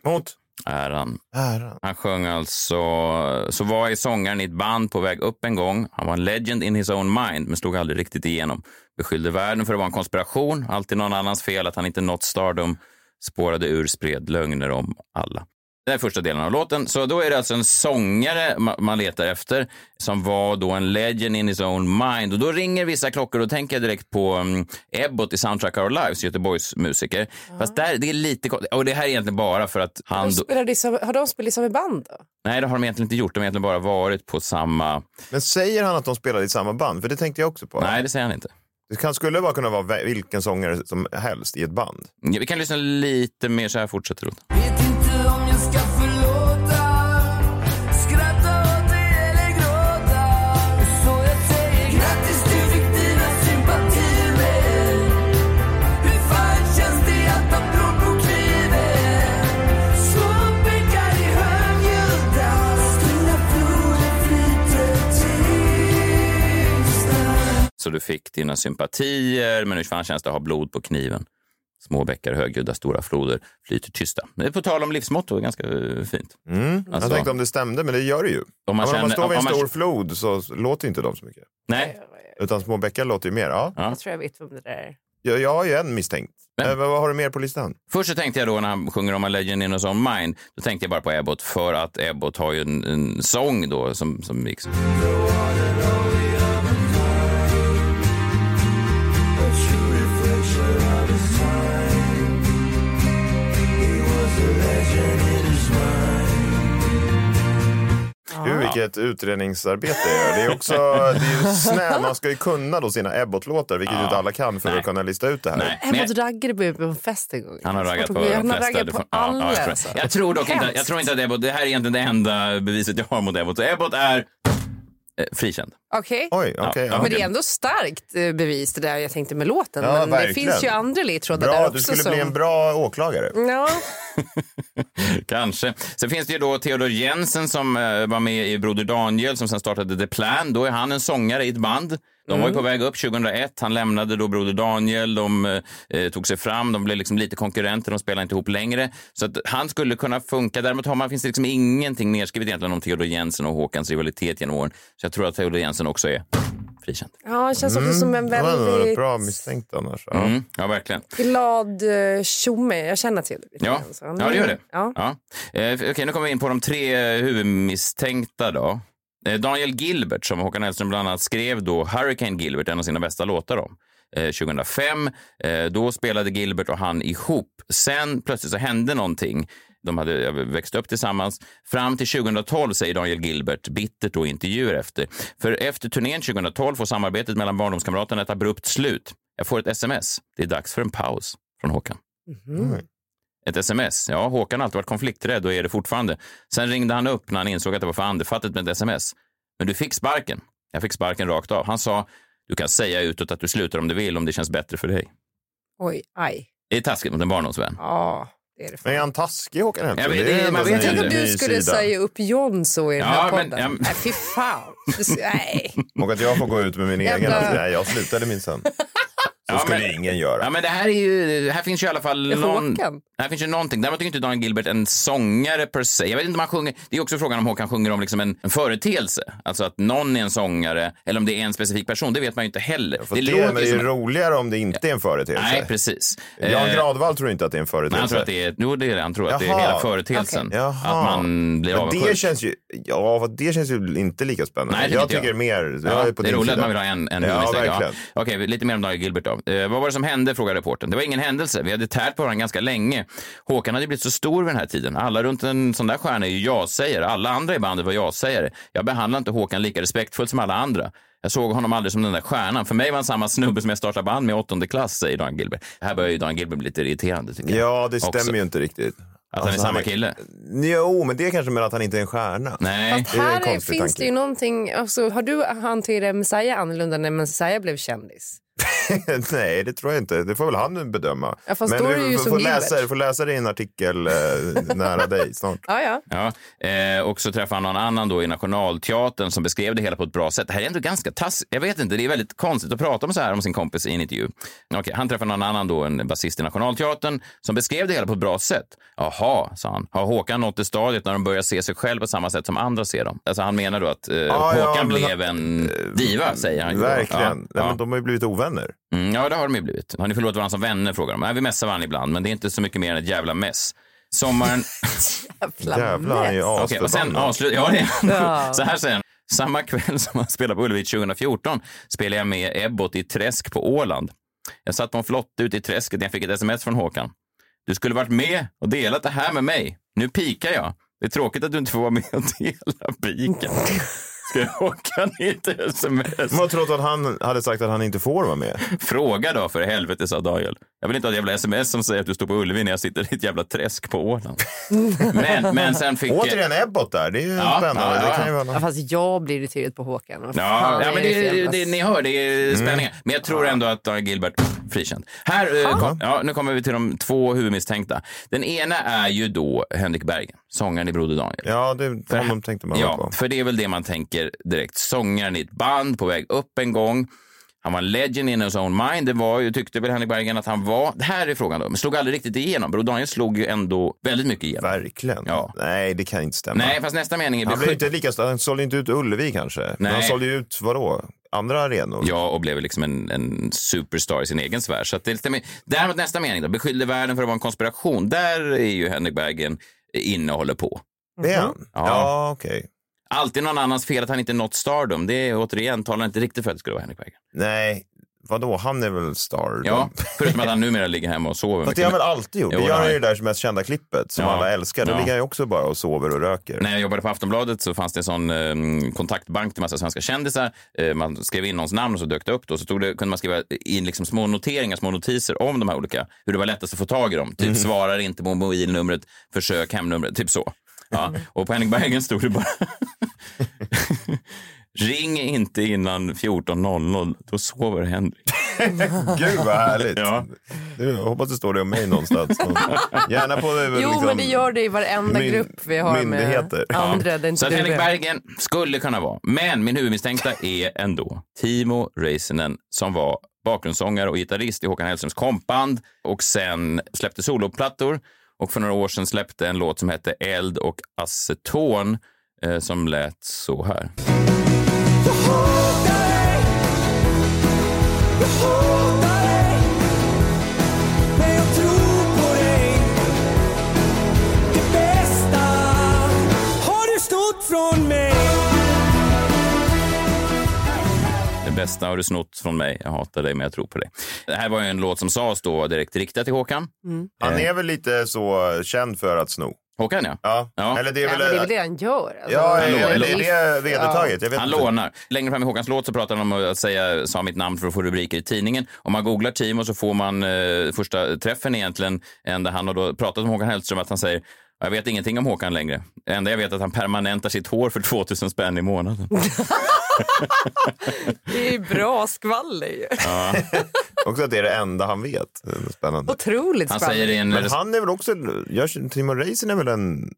[SPEAKER 3] Mot
[SPEAKER 2] Äran.
[SPEAKER 3] äran.
[SPEAKER 2] Han sjöng alltså... Så var i sångaren i ett band på väg upp en gång. Han var en legend in his own mind, men slog aldrig riktigt igenom. Beskyllde världen för att vara en konspiration. Alltid någon annans fel att han inte nått stardom. Spårade ur, spred lögner om alla. Det är första delen av låten. Så då är det alltså en sångare ma- man letar efter som var då en legend in his own mind. Och då ringer vissa klockor och tänker jag direkt på um, Ebbot i Soundtrack Our Lives, Göteborgs musiker. Fast där, det är lite kon- Och det här är egentligen bara för att han...
[SPEAKER 4] De
[SPEAKER 2] Då,
[SPEAKER 4] spelade i sam- har de spelat liksom i samma band då?
[SPEAKER 2] nej, det har de egentligen inte gjort. De har egentligen bara varit på samma...
[SPEAKER 3] Men säger han att de spelade i samma band? För det tänkte jag också på.
[SPEAKER 2] Nej, det säger han inte.
[SPEAKER 3] Det kan, skulle bara kunna vara vä- vilken sångare som helst i ett band.
[SPEAKER 2] Ja, Vi kan lyssna lite mer. Så här fortsätter låten.
[SPEAKER 5] Vet inte om jag ska förlåta Skratta åt dig eller gråta Så jag säger grattis du fick dina sympatier med Hur fan känns det att ha blod på kniven? Små bäckar i högljudda Stilla floden flyter tystnad
[SPEAKER 2] Så du fick dina sympatier, men hur fan känns det att ha blod på kniven? Små bäckar högljudda, stora floder flyter tysta. Det är på tal om livsmotto, ganska eh, fint.
[SPEAKER 3] Mm.
[SPEAKER 2] Alltså-
[SPEAKER 3] jag tänkte om det stämde, men det gör det ju.
[SPEAKER 2] Om
[SPEAKER 3] Om
[SPEAKER 2] man
[SPEAKER 3] man, ja, men
[SPEAKER 2] känner-
[SPEAKER 3] om man står vid en
[SPEAKER 2] om man-
[SPEAKER 3] stor flod så låter inte de så mycket.
[SPEAKER 2] Nej,
[SPEAKER 3] Utan små bäckar låter ju mer. Ja.
[SPEAKER 2] Ja.
[SPEAKER 4] Jag tror jag vet vem det där är.
[SPEAKER 3] Jag, jag har ju en misstänkt. Eh, vad, vad har du mer på listan?
[SPEAKER 2] Först så tänkte jag då när han sjunger om A Legend in His Own Mind, då tänkte jag bara på Ebbot för att Ebbot har ju en, en sång då som, som gick så.
[SPEAKER 3] Gud, vilket utredningsarbete jag gör. Det är också det är ju snä. Man ska ju kunna då sina Ebbot-låtar, vilket ju inte alla kan för att kunna lista ut det här.
[SPEAKER 4] Hemåt raggade vi på en fest en gång.
[SPEAKER 2] Han har raggat på
[SPEAKER 4] Han har
[SPEAKER 2] de flesta.
[SPEAKER 4] raggat
[SPEAKER 2] Det
[SPEAKER 4] på
[SPEAKER 2] får- ja,
[SPEAKER 4] alla.
[SPEAKER 2] ja, jag, tror.
[SPEAKER 4] alltså.
[SPEAKER 2] jag tror dock inte, jag tror inte att Ebbot, det här är egentligen det enda beviset jag har mot Ebbot. Så Ebbot är eh, frikänd.
[SPEAKER 4] Okej.
[SPEAKER 2] Oj, okej, ja.
[SPEAKER 4] Men det är ändå starkt eh, bevis det där jag tänkte med låten.
[SPEAKER 3] Ja,
[SPEAKER 4] men det
[SPEAKER 3] verkligen.
[SPEAKER 4] finns ju andra ledtrådar där
[SPEAKER 3] Bra,
[SPEAKER 4] också.
[SPEAKER 3] du skulle
[SPEAKER 4] som...
[SPEAKER 3] bli en bra åklagare.
[SPEAKER 2] Mm,
[SPEAKER 4] Ja,
[SPEAKER 2] Kanske. Sen finns det ju då Theodor Jensen som eh, var med i Broder Daniel som sen startade The Plan. Då är han en sångare i ett band. De var ju
[SPEAKER 4] Mm.
[SPEAKER 2] på väg upp 2001. Han lämnade då Broder Daniel. De eh, tog sig fram. De blev liksom lite konkurrenter. De spelade inte ihop längre. Så att han skulle kunna funka. Däremot har man, finns det liksom ingenting nedskrivet egentligen om Theodor Jensen och Håkans rivalitet genom åren. Så jag tror att Theodor Jensen också är frikänd.
[SPEAKER 4] ja det känns också
[SPEAKER 3] Mm,
[SPEAKER 4] som en
[SPEAKER 3] det var nog
[SPEAKER 4] väldigt
[SPEAKER 3] bra misstänkt annars. Ja.
[SPEAKER 2] Mm, ja, verkligen.
[SPEAKER 4] glad eh, tjomme. Jag känner till det.
[SPEAKER 2] Ja,
[SPEAKER 4] Alltså.
[SPEAKER 2] ja det gör det.
[SPEAKER 4] Ja.
[SPEAKER 2] Ja. Eh, Okej, nu kommer vi in på de tre eh, huvudmisstänkta. Då. Eh, Daniel Gilbert, som Håkan Hellström bland annat skrev då Hurricane Gilbert, en av sina bästa låtar om. eh, 2005, eh, då spelade Gilbert och han ihop. Sen plötsligt så hände någonting. De hade eh, växt upp tillsammans. Fram till 2012 säger Daniel Gilbert bittert då i intervjuer efter. För efter turnén 2012 får samarbetet mellan barndomskamraterna ett abrupt slut. Jag får ett sms. Det är dags för en paus från Håkan. Ett sms. Ja, Håkan har alltid varit konflikträdd och är det fortfarande. Sen ringde han upp när han insåg att det var för andefattigt med ett sms. Men du fick sparken. Jag fick sparken rakt av. Han sa, du kan säga utåt att du slutar om du vill, om det känns bättre för dig.
[SPEAKER 4] Oj, aj.
[SPEAKER 2] Det är taskigt mot en barndomsvän.
[SPEAKER 4] Ja, det är det.
[SPEAKER 3] Men är han taskig, Håkan Hellström?
[SPEAKER 2] Jag vet-
[SPEAKER 3] Det är
[SPEAKER 2] det-
[SPEAKER 3] ändå
[SPEAKER 2] man
[SPEAKER 3] en
[SPEAKER 2] vet
[SPEAKER 3] ny-
[SPEAKER 2] inte.
[SPEAKER 4] Om
[SPEAKER 3] ny
[SPEAKER 4] du skulle
[SPEAKER 3] sida.
[SPEAKER 4] säga upp John så i den
[SPEAKER 3] Ja,
[SPEAKER 4] här
[SPEAKER 3] men-
[SPEAKER 4] podden.
[SPEAKER 3] ja, men-
[SPEAKER 4] Nej, fy fan. Du s- Nej.
[SPEAKER 3] Och att jag får gå ut med min egen.
[SPEAKER 4] Jävla-
[SPEAKER 3] Alltså, nej, jag slutade minsann. Så skulle ingen göra.
[SPEAKER 2] Ja, men det här, är ju, här finns ju i alla fall
[SPEAKER 3] Det är
[SPEAKER 2] någon,
[SPEAKER 3] Håkan.
[SPEAKER 2] här finns ju någonting. Däremot är inte Daniel Gilbert en sångare per se. Jag vet inte om han sjunger. Det är också frågan om Håkan sjunger om liksom en, en företeelse. Alltså att någon är en sångare eller om det är en specifik person. Det vet man ju inte heller.
[SPEAKER 3] För det, men det är ju roligare om det inte är en företeelse.
[SPEAKER 2] Nej, precis.
[SPEAKER 3] Jan
[SPEAKER 2] Eh,
[SPEAKER 3] Gradvall tror inte att det är en
[SPEAKER 2] Men alltså, han
[SPEAKER 3] företeelse.
[SPEAKER 2] tror att det är, jo, det är det. Han tror att det är
[SPEAKER 3] Jaha.
[SPEAKER 2] hela företeelsen.
[SPEAKER 3] Okej.
[SPEAKER 2] Att man blir
[SPEAKER 3] men det
[SPEAKER 2] avundsjuk.
[SPEAKER 3] känns ju, ja, vad- det känns ju inte lika spännande.
[SPEAKER 2] Nej, det
[SPEAKER 3] jag
[SPEAKER 2] tycker jag.
[SPEAKER 3] tycker mer,
[SPEAKER 2] Ja,
[SPEAKER 3] jag är på
[SPEAKER 2] det är
[SPEAKER 3] din
[SPEAKER 2] roligt
[SPEAKER 3] sida.
[SPEAKER 2] att man vill ha en, en
[SPEAKER 3] Ja,
[SPEAKER 2] huvudmisstänkt,
[SPEAKER 3] verkligen.
[SPEAKER 2] Ja. Okej, lite mer om Daniel Gilbert då. Eh, vad var det som hände, frågade reportern. Det var ingen händelse. Vi hade tärt på varandra ganska länge. Håkan hade blivit så stor vid den här tiden. Alla runt en sån där stjärna är ju ja-sägare. Alla andra i bandet var ja-sägare. Jag behandlade inte Håkan lika respektfullt som alla andra. Jag såg honom aldrig som den där stjärnan. För mig var han samma snubbe som jag startade band med i åttonde klass, säger Daniel Gilbert. Här börjar ju Daniel Gilbert bli lite irriterande, tycker jag.
[SPEAKER 3] Ja, det stämmer Alltså,
[SPEAKER 2] Också.
[SPEAKER 3] ju inte riktigt.
[SPEAKER 2] Att han är samma kille.
[SPEAKER 3] Jo, men det är kanske mer att han inte är en stjärna.
[SPEAKER 2] Nej.
[SPEAKER 3] Det är en
[SPEAKER 4] Här
[SPEAKER 3] konstig
[SPEAKER 4] finns
[SPEAKER 3] tanke.
[SPEAKER 4] det ju någonting. Alltså, har du hanterat Messiah annorlunda när Messiah blev kändis?
[SPEAKER 3] Nej, det tror jag inte. Det får väl han nu bedöma.
[SPEAKER 4] Ja, fast
[SPEAKER 3] men
[SPEAKER 4] då är det ju
[SPEAKER 3] får,
[SPEAKER 4] som
[SPEAKER 3] får
[SPEAKER 4] Gilbert.
[SPEAKER 3] läsa, du får läsa det i en artikel eh, nära dig snart.
[SPEAKER 4] Ja, ja.
[SPEAKER 2] Ja, eh, och så träffade han någon annan då i Nationalteatern som beskrev det hela på ett bra sätt. Det här är ändå ganska taskigt. Jag vet inte, det är väldigt konstigt att prata om så här om sin kompis i en intervju. Okej, han träffade någon annan då, en basist i Nationalteatern, som beskrev det hela på ett bra sätt. Jaha, sa han. Har Håkan nått det stadiet när de börjar se sig själv på samma sätt som andra ser dem? Alltså han menar då att eh,
[SPEAKER 3] ja,
[SPEAKER 2] Håkan
[SPEAKER 3] men- eh,
[SPEAKER 2] blev en diva, säger han. ju då.
[SPEAKER 3] Verkligen.
[SPEAKER 2] Ja,
[SPEAKER 3] Nej,
[SPEAKER 2] ja.
[SPEAKER 3] men de har ju blivit ovänner.
[SPEAKER 2] Mm, ja, det har de ju blivit. Har ni förlåtit varandra som vänner, frågar de. Nej, vi messar varandra ibland, men det är inte så mycket mer än ett jävla mess. Sommaren...
[SPEAKER 3] Jävlar, han är ju
[SPEAKER 2] Okej, och sen
[SPEAKER 3] asförbannad.
[SPEAKER 2] avslut... Ja, det
[SPEAKER 3] Ja.
[SPEAKER 2] Så här säger han. Samma kväll som han spelade på Ullevi 2014 spelade jag med Ebbot i Träsk på Åland. Jag satt på en flotte ute i träsket när jag fick ett sms från Håkan. Du skulle varit med och delat det här med mig. Nu pikar jag. Det är tråkigt att du inte får vara med och dela piken. Ska Håkan inte sms?
[SPEAKER 3] Man trodde att han hade sagt att han inte får vara med.
[SPEAKER 2] Fråga då för helvete, sa Daniel. Jag vill inte ha ett jävla sms som säger att du står på Ullevi när jag sitter i ett jävla träsk på Åland. Men, men sen fick...
[SPEAKER 3] Återigen Ebbot där, det är ju
[SPEAKER 2] Ja,
[SPEAKER 3] spännande.
[SPEAKER 2] ja, ja.
[SPEAKER 3] Det kan ju vara
[SPEAKER 4] Ja, fast jag blir irriterad på Håkan. Vad
[SPEAKER 2] Ja,
[SPEAKER 4] fan
[SPEAKER 2] ja
[SPEAKER 4] är
[SPEAKER 2] men
[SPEAKER 4] för
[SPEAKER 2] det, det,
[SPEAKER 4] jävla-
[SPEAKER 2] ni hör, det är spänningar. Men jag tror ändå att Daniel Gilbert frikänd. Här, eh, kom, ja, nu kommer vi till de två huvudmisstänkta. Den ena är ju då Henrik Bergen, sångaren i Broder Daniel.
[SPEAKER 3] Ja, det, honom tänkte man
[SPEAKER 2] Ja,
[SPEAKER 3] på.
[SPEAKER 2] för det är väl det man tänker direkt. Sångaren i ett band på väg upp en gång. Han var en legend in his own mind. Det var ju, tyckte väl Henrik Bergen att han var. Det här är frågan då. Men slog aldrig riktigt igenom. Broder Daniel slog ju ändå väldigt mycket igenom.
[SPEAKER 3] Verkligen. Nej, det kan inte stämma.
[SPEAKER 2] Nej, fast nästa mening är...
[SPEAKER 3] han, blev inte lika, han sålde inte ut Ullevi kanske. Men
[SPEAKER 2] Nej.
[SPEAKER 3] han sålde ju ut, vadå? andra arenor.
[SPEAKER 2] Ja, och blev liksom en, en superstar i sin egen sfär. Så att det är lite mer... Däremot nästa mening då, beskyllde världen för att vara en konspiration. Där är ju Henrik Bergen inne och håller på.
[SPEAKER 3] Det är han?
[SPEAKER 2] Ja.
[SPEAKER 3] ja okej.
[SPEAKER 2] Alltid någon annans fel att han inte nått stardom. Det är återigen talar inte riktigt för att det skulle vara Henrik Bergen.
[SPEAKER 3] Nej, vadå? Han är väl star?
[SPEAKER 2] Ja, förutom att han numera ligger hemma och sover.
[SPEAKER 3] Fast det har han väl alltid gjort?
[SPEAKER 2] Jo,
[SPEAKER 3] Det
[SPEAKER 2] det
[SPEAKER 3] gör
[SPEAKER 2] har
[SPEAKER 3] han ju
[SPEAKER 2] han.
[SPEAKER 3] det där mest kända klippet som
[SPEAKER 2] Ja.
[SPEAKER 3] alla älskar. Då
[SPEAKER 2] Ja.
[SPEAKER 3] ligger han ju också bara och sover och röker.
[SPEAKER 2] När jag jobbade på Aftonbladet så fanns det en sån eh, kontaktbank till massa svenska kändisar. Eh, man skrev in någons namn och så dök det upp. Då. Så tog det, kunde man skriva in liksom små noteringar, små notiser om de här olika, hur det var lättast att få tag i dem. Typ svarar inte på mobilnumret, försök hemnumret, typ så. Ja. Och på Henrik Bergen stod det bara Ring inte innan 14.00, då sover Henrik.
[SPEAKER 3] Gud vad härligt.
[SPEAKER 2] Ja.
[SPEAKER 3] Du, jag hoppas det står det om mig någonstans. Gärna på eh,
[SPEAKER 4] Jo,
[SPEAKER 3] liksom,
[SPEAKER 4] men det gör det i varenda
[SPEAKER 3] myn-
[SPEAKER 4] grupp vi har
[SPEAKER 3] myndigheter.
[SPEAKER 4] med andra. Det är inte
[SPEAKER 2] Så att
[SPEAKER 4] du
[SPEAKER 2] Henrik
[SPEAKER 4] vet.
[SPEAKER 2] Bergen skulle kunna vara. Men min huvudmisstänkta är ändå Timo Räisänen som var bakgrundssångare och gitarrist i Håkan Hellströms kompband och sen släppte soloplattor och för några år sedan släppte en låt som hette Eld och aceton eh, som lät så här. Det bästa har du snott från mig. Jag hatar dig, men jag tror på dig. Det här var ju en låt som sades då vara direkt riktad till Håkan.
[SPEAKER 3] Han är väl lite så eh, känd för att sno.
[SPEAKER 2] Håkan, ja.
[SPEAKER 3] Ja.
[SPEAKER 2] Ja.
[SPEAKER 3] Eller det
[SPEAKER 4] Ja, men
[SPEAKER 3] är väl...
[SPEAKER 4] det är väl det han gör. alltså.
[SPEAKER 3] Ja,
[SPEAKER 2] Han
[SPEAKER 3] eller
[SPEAKER 2] lånar.
[SPEAKER 3] eller är det vedertaget? Jag vet
[SPEAKER 2] Han
[SPEAKER 3] inte.
[SPEAKER 2] lånar. Längre fram i Håkans låt så pratar han om att säga sa mitt namn för att få rubriker i tidningen. Om man googlar Timo så får man eh, första träffen egentligen en där han har då pratat om Håkan Hellström att han säger jag vet ingenting om Håkan längre. Det enda jag vet är att han permanentar sitt hår för 2000 spänn i månaden.
[SPEAKER 4] Det är ju bra skvaller ju.
[SPEAKER 3] Också att det är det enda han vet. Spännande.
[SPEAKER 4] Otroligt
[SPEAKER 2] Han
[SPEAKER 4] skvaller.
[SPEAKER 2] säger i en...
[SPEAKER 3] Men han är väl också... gör- Timo Räisänen är väl en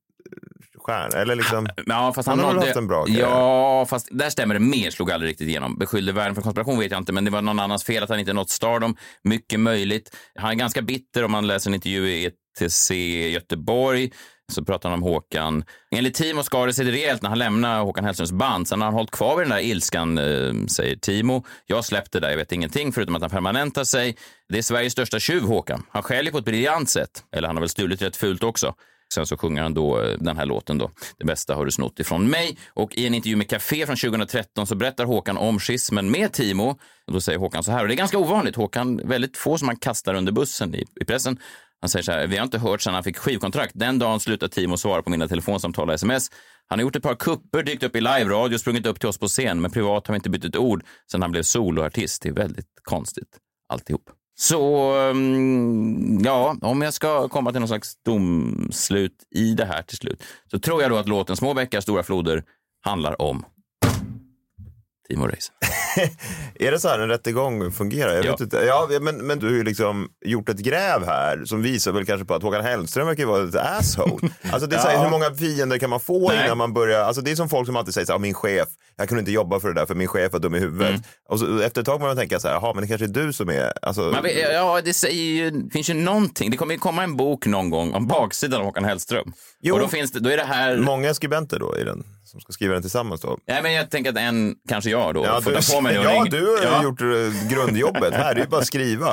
[SPEAKER 3] stjärna? Eller liksom...
[SPEAKER 2] Ja, fast han,
[SPEAKER 3] Han har väl
[SPEAKER 2] nådde-
[SPEAKER 3] haft en bra karriär?
[SPEAKER 2] Ja, fast där stämmer det mer. Slog aldrig riktigt igenom. Beskyllde världen för konspiration vet jag inte, men det var någon annans fel att han inte nått stardom. Mycket möjligt. Han är ganska bitter om man läser en intervju i ETC Göteborg. Så pratar han om Håkan. Enligt Timo skar det sig rejält när han lämnade Håkan Hellströms band. Sen har han hållit kvar vid den där ilskan, eh, säger Timo. Jag släppte det där, jag vet ingenting, förutom att han permanentar sig. Det är Sveriges största tjuv, Håkan. Han skäller på ett briljant sätt. Eller han har väl stulit rätt fult också. Sen så sjunger han då eh, den här låten då, Det bästa har du snott ifrån mig. Och i en intervju med Café från 2013 så berättar Håkan om schismen med Timo. Och då säger Håkan så här, och det är ganska ovanligt, Håkan, väldigt få som han kastar under bussen i, i pressen. Han säger så här, vi har inte hört sedan han fick skivkontrakt. Den dagen slutade Timo svara på mina telefonsamtal och sms. Han har gjort ett par kupper, dykt upp i live-radio, sprungit upp till oss på scen, men privat har vi inte bytt ett ord sedan han blev soloartist. Det är väldigt konstigt alltihop. Så mm, ja, om jag ska komma till någon slags domslut i det här till slut så tror jag då att låten Små bäckar stora floder handlar om Timo Räisänen.
[SPEAKER 3] Är det så här en rättegång fungerar? Jag
[SPEAKER 2] Ja.
[SPEAKER 3] vet inte. Ja, men, men du har ju liksom gjort ett gräv här som visar väl kanske på att Håkan Hellström verkar ju vara ett asshole. Alltså det är så här,
[SPEAKER 2] Ja.
[SPEAKER 3] hur många fiender kan man få
[SPEAKER 2] Nej.
[SPEAKER 3] innan man börjar? Alltså det är som folk som alltid säger så här, "Ah, min chef, jag kunde inte jobba för det där för min chef var dum i huvudet.
[SPEAKER 2] Mm.
[SPEAKER 3] Och så, efter ett tag börjar man tänka så här, jaha men det kanske är du som är, alltså,
[SPEAKER 2] Man vet- Ja, det säger ju, det finns ju någonting. Det kommer ju komma en bok någon gång om baksidan av Håkan Hellström.
[SPEAKER 3] Jo.
[SPEAKER 2] Och då, finns det, då är det här...
[SPEAKER 3] många skribenter då i den som ska skriva den tillsammans då.
[SPEAKER 2] Nej, men jag tänker att en, kanske jag då,
[SPEAKER 3] Ja,
[SPEAKER 2] får
[SPEAKER 3] du,
[SPEAKER 2] ta på mig det och
[SPEAKER 3] ja,
[SPEAKER 2] ringa-
[SPEAKER 3] du har
[SPEAKER 2] Ja.
[SPEAKER 3] gjort eh, grundjobbet här, det är ju bara att skriva.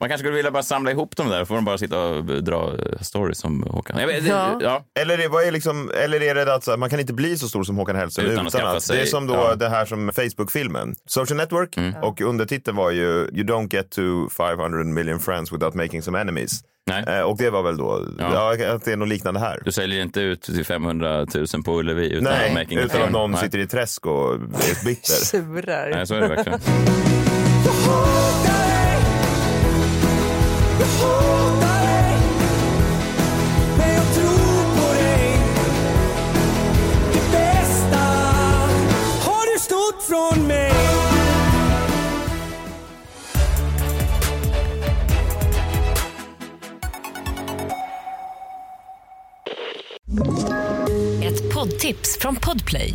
[SPEAKER 2] Man kanske skulle vilja bara samla ihop dem där, och får de bara sitta och dra eh, stories om Håkan. Jag vet, ja.
[SPEAKER 4] Ja.
[SPEAKER 2] Ja.
[SPEAKER 3] Eller är, vad är liksom, eller är det att så här, man kan inte bli så stor som Håkan Hellström
[SPEAKER 2] Utan
[SPEAKER 3] utan,
[SPEAKER 2] att skaffa
[SPEAKER 3] att.
[SPEAKER 2] sig-
[SPEAKER 3] Det är som då
[SPEAKER 2] ja. Mm.
[SPEAKER 3] det här som Facebook-filmen, Social Network, och undertiteln var ju You don't get to 500 million friends without making some enemies.
[SPEAKER 2] Nej.
[SPEAKER 3] Eh, och det var väl då,
[SPEAKER 2] Ja.
[SPEAKER 3] ja. att det är något liknande här.
[SPEAKER 2] Du säljer inte ut till 500 000 på Ullevi utan att
[SPEAKER 3] Nej,
[SPEAKER 2] making a
[SPEAKER 3] utan
[SPEAKER 2] film.
[SPEAKER 3] att någon
[SPEAKER 2] Nej.
[SPEAKER 3] sitter i träsk och är bitter.
[SPEAKER 4] Surar.
[SPEAKER 2] Nej, så är det verkligen.
[SPEAKER 9] Ett poddtips från Podplay.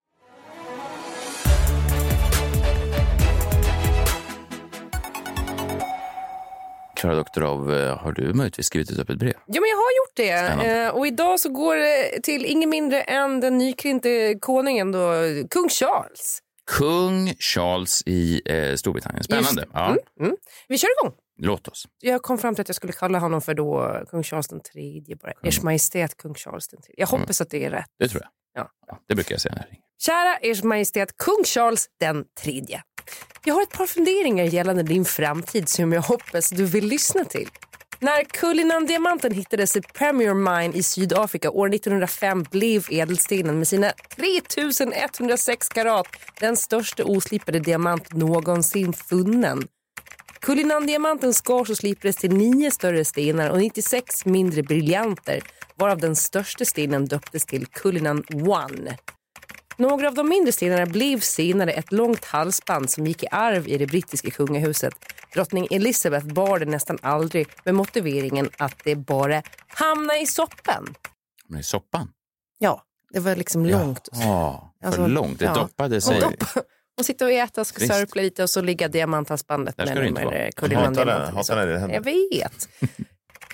[SPEAKER 2] Klara Doktorov, eh, har du möjligtvis skrivit upp ett brev?
[SPEAKER 4] Ja, men jag har gjort det.
[SPEAKER 2] Spännande.
[SPEAKER 4] Eh, och idag så går det till ingen mindre än den nykrönte koningen, då, kung Charles.
[SPEAKER 2] Kung Charles i eh, Storbritannien. Spännande.
[SPEAKER 4] Just det.
[SPEAKER 2] Ja,
[SPEAKER 4] Mm, mm. Vi kör igång.
[SPEAKER 2] Låt oss.
[SPEAKER 4] Jag kom fram till att jag skulle kalla honom för då kung Charles den tredje. Bara. Ers Majestät kung Charles den tredje. Jag
[SPEAKER 2] Mm.
[SPEAKER 4] hoppas att det är rätt.
[SPEAKER 2] Det tror jag.
[SPEAKER 4] Ja.
[SPEAKER 2] Det brukar jag säga när jag ringer.
[SPEAKER 4] Kära Ers Majestät kung Charles den tredje. Jag har ett par funderingar gällande din framtid som jag hoppas du vill lyssna till. När Cullinan-diamanten hittades i Premier Mine i Sydafrika år 1905 blev ädelstenen med sina 3106 karat den största oslipade diamant någonsin funnen. Cullinan-diamanten skars och slipades till nio större stenar och 96 mindre briljanter varav den största stenen döptes till Cullinan One. Några av de mindre stenarna blev senare ett långt halsband som gick i arv i det brittiska kungahuset. Drottning Elizabeth bar det nästan aldrig med motiveringen att det bara hamnade i soppen.
[SPEAKER 2] Men i soppan?
[SPEAKER 4] Ja, det var liksom långt.
[SPEAKER 2] Ja, för
[SPEAKER 4] Alltså,
[SPEAKER 2] långt. Det
[SPEAKER 4] ja.
[SPEAKER 2] doppade sig.
[SPEAKER 4] Och doppa- Och sitta och äta, ska
[SPEAKER 2] Visst.
[SPEAKER 4] sörpla lite och så ligga diamanthalsbandet
[SPEAKER 2] Där
[SPEAKER 4] med
[SPEAKER 2] ska det inte vara.
[SPEAKER 4] nummer
[SPEAKER 2] Hatar det,
[SPEAKER 4] Kullinan-diamanten.
[SPEAKER 2] hatar när det händer.
[SPEAKER 4] Jag vet.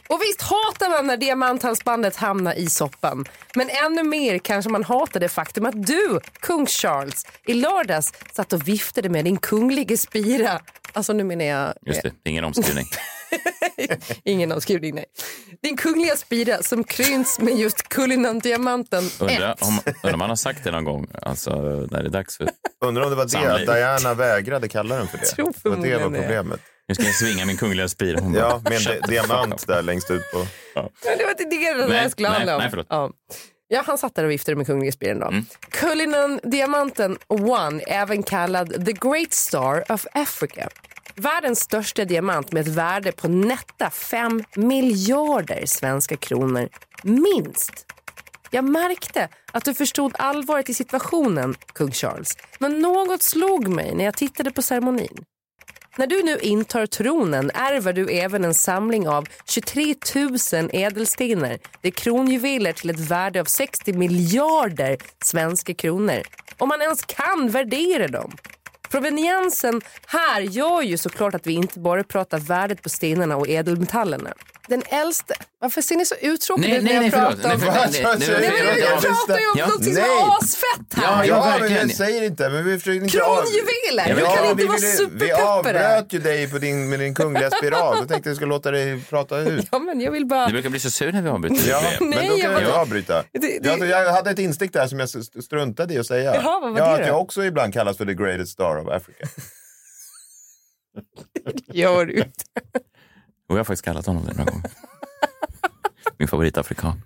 [SPEAKER 4] Och visst hatar man när diamanthalsbandet hamnar i soppan. Men ännu mer kanske man hatar det faktum att du, kung Charles, i lördags satt och viftade med din kungliga spira. Alltså nu menar jag
[SPEAKER 2] Just det, ingen omskrivning.
[SPEAKER 4] ingen avskrivning, nej. Din kungliga spira som kryns med just Kullinan-diamanten
[SPEAKER 2] Undrar
[SPEAKER 4] ett.
[SPEAKER 2] om, undrar om man har sagt det någon gång, alltså när det är dags för
[SPEAKER 3] Undrar om det var det, att
[SPEAKER 2] Samling.
[SPEAKER 3] Diana vägrade kalla den för det.
[SPEAKER 4] Tror
[SPEAKER 3] Att det var
[SPEAKER 4] förmodligen det.
[SPEAKER 3] problemet.
[SPEAKER 2] Nu ska jag svinga min kungliga spir. Hon bara,
[SPEAKER 3] Ja, med en
[SPEAKER 2] "Shut
[SPEAKER 3] di-
[SPEAKER 2] the fuck
[SPEAKER 3] diamant
[SPEAKER 2] up."
[SPEAKER 3] där längst ut på.
[SPEAKER 4] Men det var inte det den
[SPEAKER 2] Nej,
[SPEAKER 4] här skulle
[SPEAKER 2] nej,
[SPEAKER 4] handla om.
[SPEAKER 2] nej, förlåt. Mm.
[SPEAKER 4] ja. ja, han satt där och viftade med kungliga spiren. Då. Cullinan Diamanten One, även kallad The Great Star of Africa. Världens största diamant med ett värde på nätta 5 miljarder svenska kronor, minst. Jag märkte att du förstod allvaret i situationen, kung Charles. Men något slog mig när jag tittade på ceremonin. När du nu intar tronen ärver du även en samling av 23 000 ädelstenar. Det är kronjuveler till ett värde av 60 miljarder svenska kronor. Om man ens kan värdera dem. Proveniensen här gör ju såklart att vi inte bara pratar värdet på stenarna och ädelmetallerna. Den äldste... Varför ser ni så uttråkade
[SPEAKER 2] Nej,
[SPEAKER 4] ut
[SPEAKER 2] nej,
[SPEAKER 4] när jag
[SPEAKER 2] nej,
[SPEAKER 4] pratar
[SPEAKER 2] förlåt.
[SPEAKER 4] om...
[SPEAKER 2] Nej, förlåt. Nej, nej, nej,
[SPEAKER 4] Nej,
[SPEAKER 2] nej,
[SPEAKER 4] men
[SPEAKER 2] nej,
[SPEAKER 4] jag
[SPEAKER 2] nej.
[SPEAKER 4] pratar ju om
[SPEAKER 2] Ja.
[SPEAKER 4] någonting som är
[SPEAKER 2] Nej.
[SPEAKER 4] asfett
[SPEAKER 3] Ja,
[SPEAKER 4] här!
[SPEAKER 3] ja men
[SPEAKER 2] verkligen.
[SPEAKER 3] jag säger inte. Men vi försöker inte av-
[SPEAKER 4] Kronjuveler!
[SPEAKER 3] Ja,
[SPEAKER 4] vi kan inte
[SPEAKER 3] vi
[SPEAKER 4] vara
[SPEAKER 3] ville- Vi
[SPEAKER 4] superpeppare!
[SPEAKER 3] avbröt ju dig på din, med din kungliga spiral. Jag tänkte jag skulle låta dig prata ut.
[SPEAKER 4] Ja, men jag vill bara...
[SPEAKER 2] Du brukar bli så sur när vi avbryter.
[SPEAKER 3] Ja,
[SPEAKER 2] det.
[SPEAKER 3] men
[SPEAKER 4] Nej,
[SPEAKER 3] då
[SPEAKER 4] jag
[SPEAKER 3] kan
[SPEAKER 4] var-
[SPEAKER 3] jag, avbryta.
[SPEAKER 4] Det- det-
[SPEAKER 3] Jag, jag hade ett instick där som jag st- struntade i att säga.
[SPEAKER 4] Jaha, vad var
[SPEAKER 3] ja,
[SPEAKER 4] det
[SPEAKER 3] att
[SPEAKER 4] då?
[SPEAKER 3] jag också ibland kallas för the greatest star of Africa.
[SPEAKER 4] Gör du inte.
[SPEAKER 2] Och jag har faktiskt kallat honom det några gånger. Min favoritafrikan.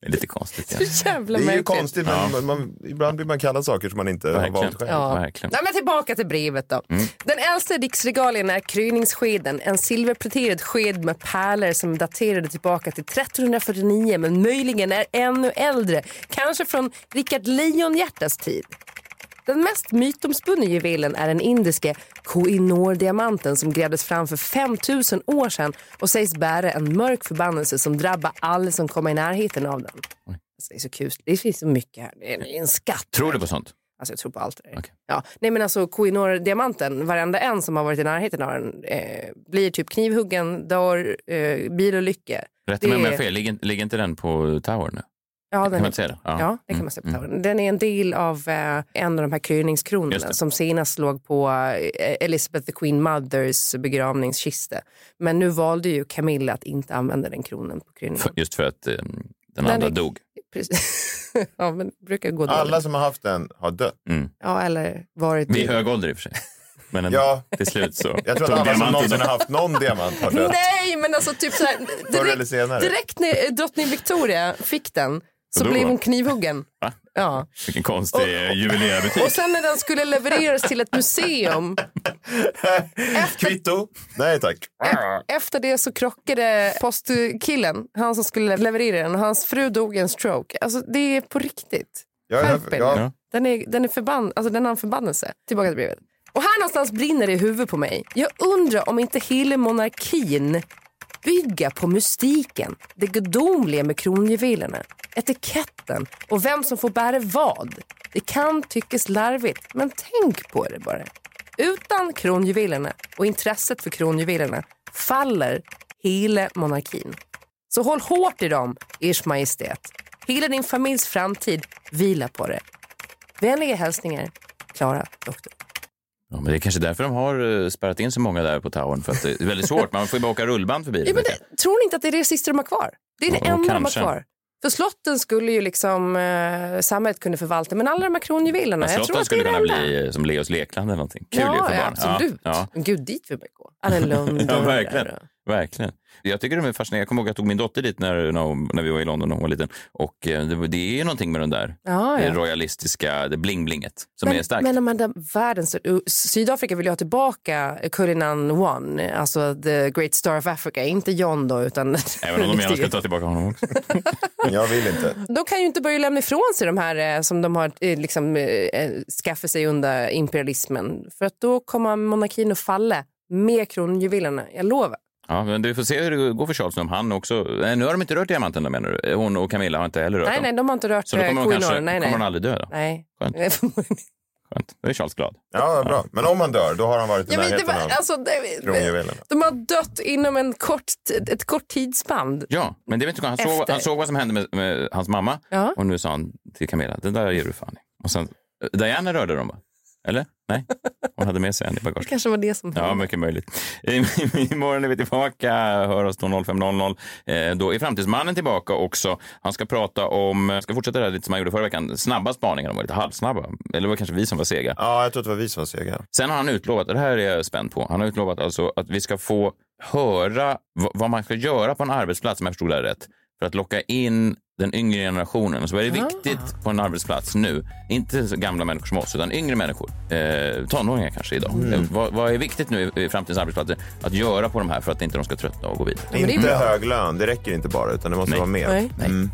[SPEAKER 2] Det är lite konstigt. Ja.
[SPEAKER 4] Så jävla
[SPEAKER 3] det är ju
[SPEAKER 4] märkligt.
[SPEAKER 3] konstigt, men man, man, ibland blir man kallad saker som man inte har
[SPEAKER 2] Verkligen.
[SPEAKER 3] valt själv.
[SPEAKER 4] Ja.
[SPEAKER 2] Verkligen.
[SPEAKER 4] Nej, men tillbaka till brevet då. Den äldsta riksregalien är kryningsskeden, en silverpläterad sked med pärlor som är daterade tillbaka till 1349 men möjligen är ännu äldre, kanske från Rickard Lejonhjärtas tid. Den mest mytomspunne juvelen är den indiske Koh-i-Noor-diamanten som grävdes fram för 5000 år sedan och sägs bära en mörk förbannelse som drabbar alla som kommer i närheten av den. Alltså, det är så kusligt. Det finns så mycket här. Det är en skatt.
[SPEAKER 2] Tror du på sånt?
[SPEAKER 4] Alltså jag tror på allt det där.
[SPEAKER 2] Okej.
[SPEAKER 4] Ja. Nej men alltså Koinor-diamanten, varenda en som har varit i närheten av den eh, blir typ knivhuggen, dör, eh, bilolyckor.
[SPEAKER 2] Rätta mig om
[SPEAKER 4] Det-
[SPEAKER 2] jag har fel. Ligger, ligger inte den på Tower nu?
[SPEAKER 4] Ja,
[SPEAKER 2] Kan man Mm, säga det?
[SPEAKER 4] Ja,
[SPEAKER 2] Ja.
[SPEAKER 4] det kan man säga på tavlan. Den är en del av eh, en av de här
[SPEAKER 2] Just
[SPEAKER 4] kryningskronorna
[SPEAKER 2] det.
[SPEAKER 4] som senast låg på eh, Elizabeth the Queen Mothers begravningskista. Men nu valde ju Camilla att inte använda den kronan på
[SPEAKER 2] För,
[SPEAKER 4] kryningen.
[SPEAKER 2] just för att eh, den andra
[SPEAKER 4] är-
[SPEAKER 2] dog.
[SPEAKER 4] Precis. ja, men det brukar gå dåligt.
[SPEAKER 3] Alla som har haft den har dött.
[SPEAKER 4] Ja, eller varit...
[SPEAKER 2] Vid hög ålder i och för sig. Men ändå,
[SPEAKER 3] Ja.
[SPEAKER 2] till slut så
[SPEAKER 3] Jag tror att alla som någonsin har haft någon diamant har dött.
[SPEAKER 4] Nej, men alltså typ så här,
[SPEAKER 3] Förr eller
[SPEAKER 4] direkt,
[SPEAKER 3] senare.
[SPEAKER 4] direkt när eh, drottning Victoria fick den så
[SPEAKER 2] då
[SPEAKER 4] blev
[SPEAKER 2] var-
[SPEAKER 4] hon knivhuggen.
[SPEAKER 2] Va?
[SPEAKER 4] Ja.
[SPEAKER 2] Vilken konstig eh, juvelerarbutik.
[SPEAKER 4] Och sen när den skulle levereras till ett museum
[SPEAKER 3] Kvitto? Nej tack.
[SPEAKER 4] Efter det så krockade postkillen, han som skulle leverera den, och hans fru dog i en stroke. Alltså det är på riktigt.
[SPEAKER 3] Jag, jag,
[SPEAKER 4] Skärp er.
[SPEAKER 3] jag,
[SPEAKER 4] Den är, den är förbann, alltså den har en förbannelse. Tillbaka till brevet. Och här någonstans brinner det i huvudet på mig. Jag undrar om inte hela monarkin bygger på mystiken, det gudomliga med kronjuvelerna, etiketten och vem som får bära vad. Det kan tyckas larvigt, men tänk på det bara. Utan kronjuvelerna och intresset för kronjuvelerna faller hela monarkin. Så håll hårt i dem, Ers Majestät. Hela din familjs framtid vilar på det. Vänliga hälsningar, Klara Doktor.
[SPEAKER 2] Ja, men det är kanske därför de har eh, spärrat in så många där på Towern. För att det är väldigt svårt. Man får ju bara åka rullband förbi.
[SPEAKER 4] Ja, men det, tror ni inte att det är det sista de har kvar? Det är det
[SPEAKER 2] Ja,
[SPEAKER 4] enda de har
[SPEAKER 2] kanske.
[SPEAKER 4] kvar. För slotten skulle ju liksom eh, samhället kunde förvalta, men alla de här kronjuvelerna, jag tror
[SPEAKER 2] Slotten
[SPEAKER 4] att det är
[SPEAKER 2] skulle
[SPEAKER 4] det
[SPEAKER 2] kunna
[SPEAKER 4] enda.
[SPEAKER 2] bli eh, som Leos lekland eller någonting. Kul ju
[SPEAKER 4] ja,
[SPEAKER 2] för barn.
[SPEAKER 4] ja, absolut.
[SPEAKER 2] Ja,
[SPEAKER 4] Men gud, dit vill man ju gå. Annelund
[SPEAKER 2] ja,
[SPEAKER 4] och-
[SPEAKER 2] verkligen. verkligen. Jag tycker de är fascinerande. Jag kommer ihåg att jag tog min dotter dit när, när, hon, när vi var i London när hon var liten. Och eh, det, var- det är ju någonting med den där
[SPEAKER 4] Ja, ja.
[SPEAKER 2] eh, royalistiska, det bling-blinget som
[SPEAKER 4] men,
[SPEAKER 2] är starkt.
[SPEAKER 4] Men om man, den världen, så- Sydafrika vill ju ha tillbaka Cullinan One, alltså the great star of Africa, inte John då utan...
[SPEAKER 2] Även om de gärna skulle ta tillbaka honom också.
[SPEAKER 3] Jag vill inte.
[SPEAKER 4] De kan ju inte börja lämna ifrån sig de här eh, som de har eh, liksom, eh, eh, skaffat sig under imperialismen. För att då kommer monarkin att falla med kronjuvelerna, jag lovar.
[SPEAKER 2] Ja, men du får se hur det går för Charles nu, om han också... Nej, nu har de inte rört diamanten där menar du? Hon och Camilla har inte heller rört
[SPEAKER 4] Nej,
[SPEAKER 2] dem.
[SPEAKER 4] nej, de har inte rört
[SPEAKER 2] Så då
[SPEAKER 4] eh,
[SPEAKER 2] kommer hon
[SPEAKER 4] koinor.
[SPEAKER 2] kanske-
[SPEAKER 4] nej, nej.
[SPEAKER 2] kommer hon aldrig dö då?
[SPEAKER 4] Nej.
[SPEAKER 2] Skönt. Skönt. Då är Charles glad.
[SPEAKER 3] Ja, bra. Men om han dör, då har han varit i
[SPEAKER 4] Ja, men det
[SPEAKER 3] närheten
[SPEAKER 4] var,
[SPEAKER 3] av
[SPEAKER 4] alltså, det,
[SPEAKER 3] kronjuvelerna.
[SPEAKER 4] de har dött inom en kort, ett kort tidsspann.
[SPEAKER 2] Ja, men det vet du, han, såg,
[SPEAKER 4] Efter.
[SPEAKER 2] han såg vad som hände med, med hans mamma
[SPEAKER 4] Ja.
[SPEAKER 2] och nu sa han till Camilla, det där ger du fan i. Och sen, eh, Diana rörde dem va? Eller? Nej, hon hade med sig en i
[SPEAKER 4] Det
[SPEAKER 2] bagaget.
[SPEAKER 4] kanske var det som hände.
[SPEAKER 2] Ja, mycket möjligt. Imorgon är vi tillbaka. Hör oss då 05.00. Eh, Då är Framtidsmannen tillbaka också. Han ska prata om, jag ska fortsätta där lite som han gjorde förra veckan, snabba spaningar. De var lite halvsnabba. Eller det var kanske vi som var sega.
[SPEAKER 3] Ja, jag tror att det var vi som var sega.
[SPEAKER 2] Sen har han utlovat, och det här är jag spänd på, han har utlovat alltså att vi ska få höra v- vad man ska göra på en arbetsplats, om jag förstod det här rätt, för att locka in den yngre generationen. Så vad är det viktigt på en arbetsplats nu? Inte så gamla människor som oss, utan yngre människor. Eh, tonåringar kanske idag. Eh, vad, vad är viktigt nu i, i framtidens arbetsplatser att göra på de här för att inte de ska tröttna och gå vidare?
[SPEAKER 4] men det är
[SPEAKER 3] Inte
[SPEAKER 4] bra.
[SPEAKER 3] hög lön, det räcker inte bara, utan det måste
[SPEAKER 2] Nej.
[SPEAKER 3] vara mer.
[SPEAKER 4] Nej.
[SPEAKER 3] Mm.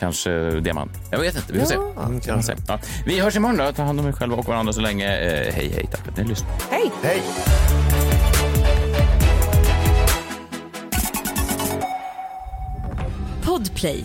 [SPEAKER 2] Kanske diamant. Jag vet inte, vi får
[SPEAKER 4] Ja.
[SPEAKER 2] se. Vi får se. Ja. Vi hörs imorgon då. Ta hand om er själva och varandra så länge. Eh, hej, hej. Tack för att ni lyssnade.
[SPEAKER 4] Hej!
[SPEAKER 3] Hej!
[SPEAKER 9] Podplay,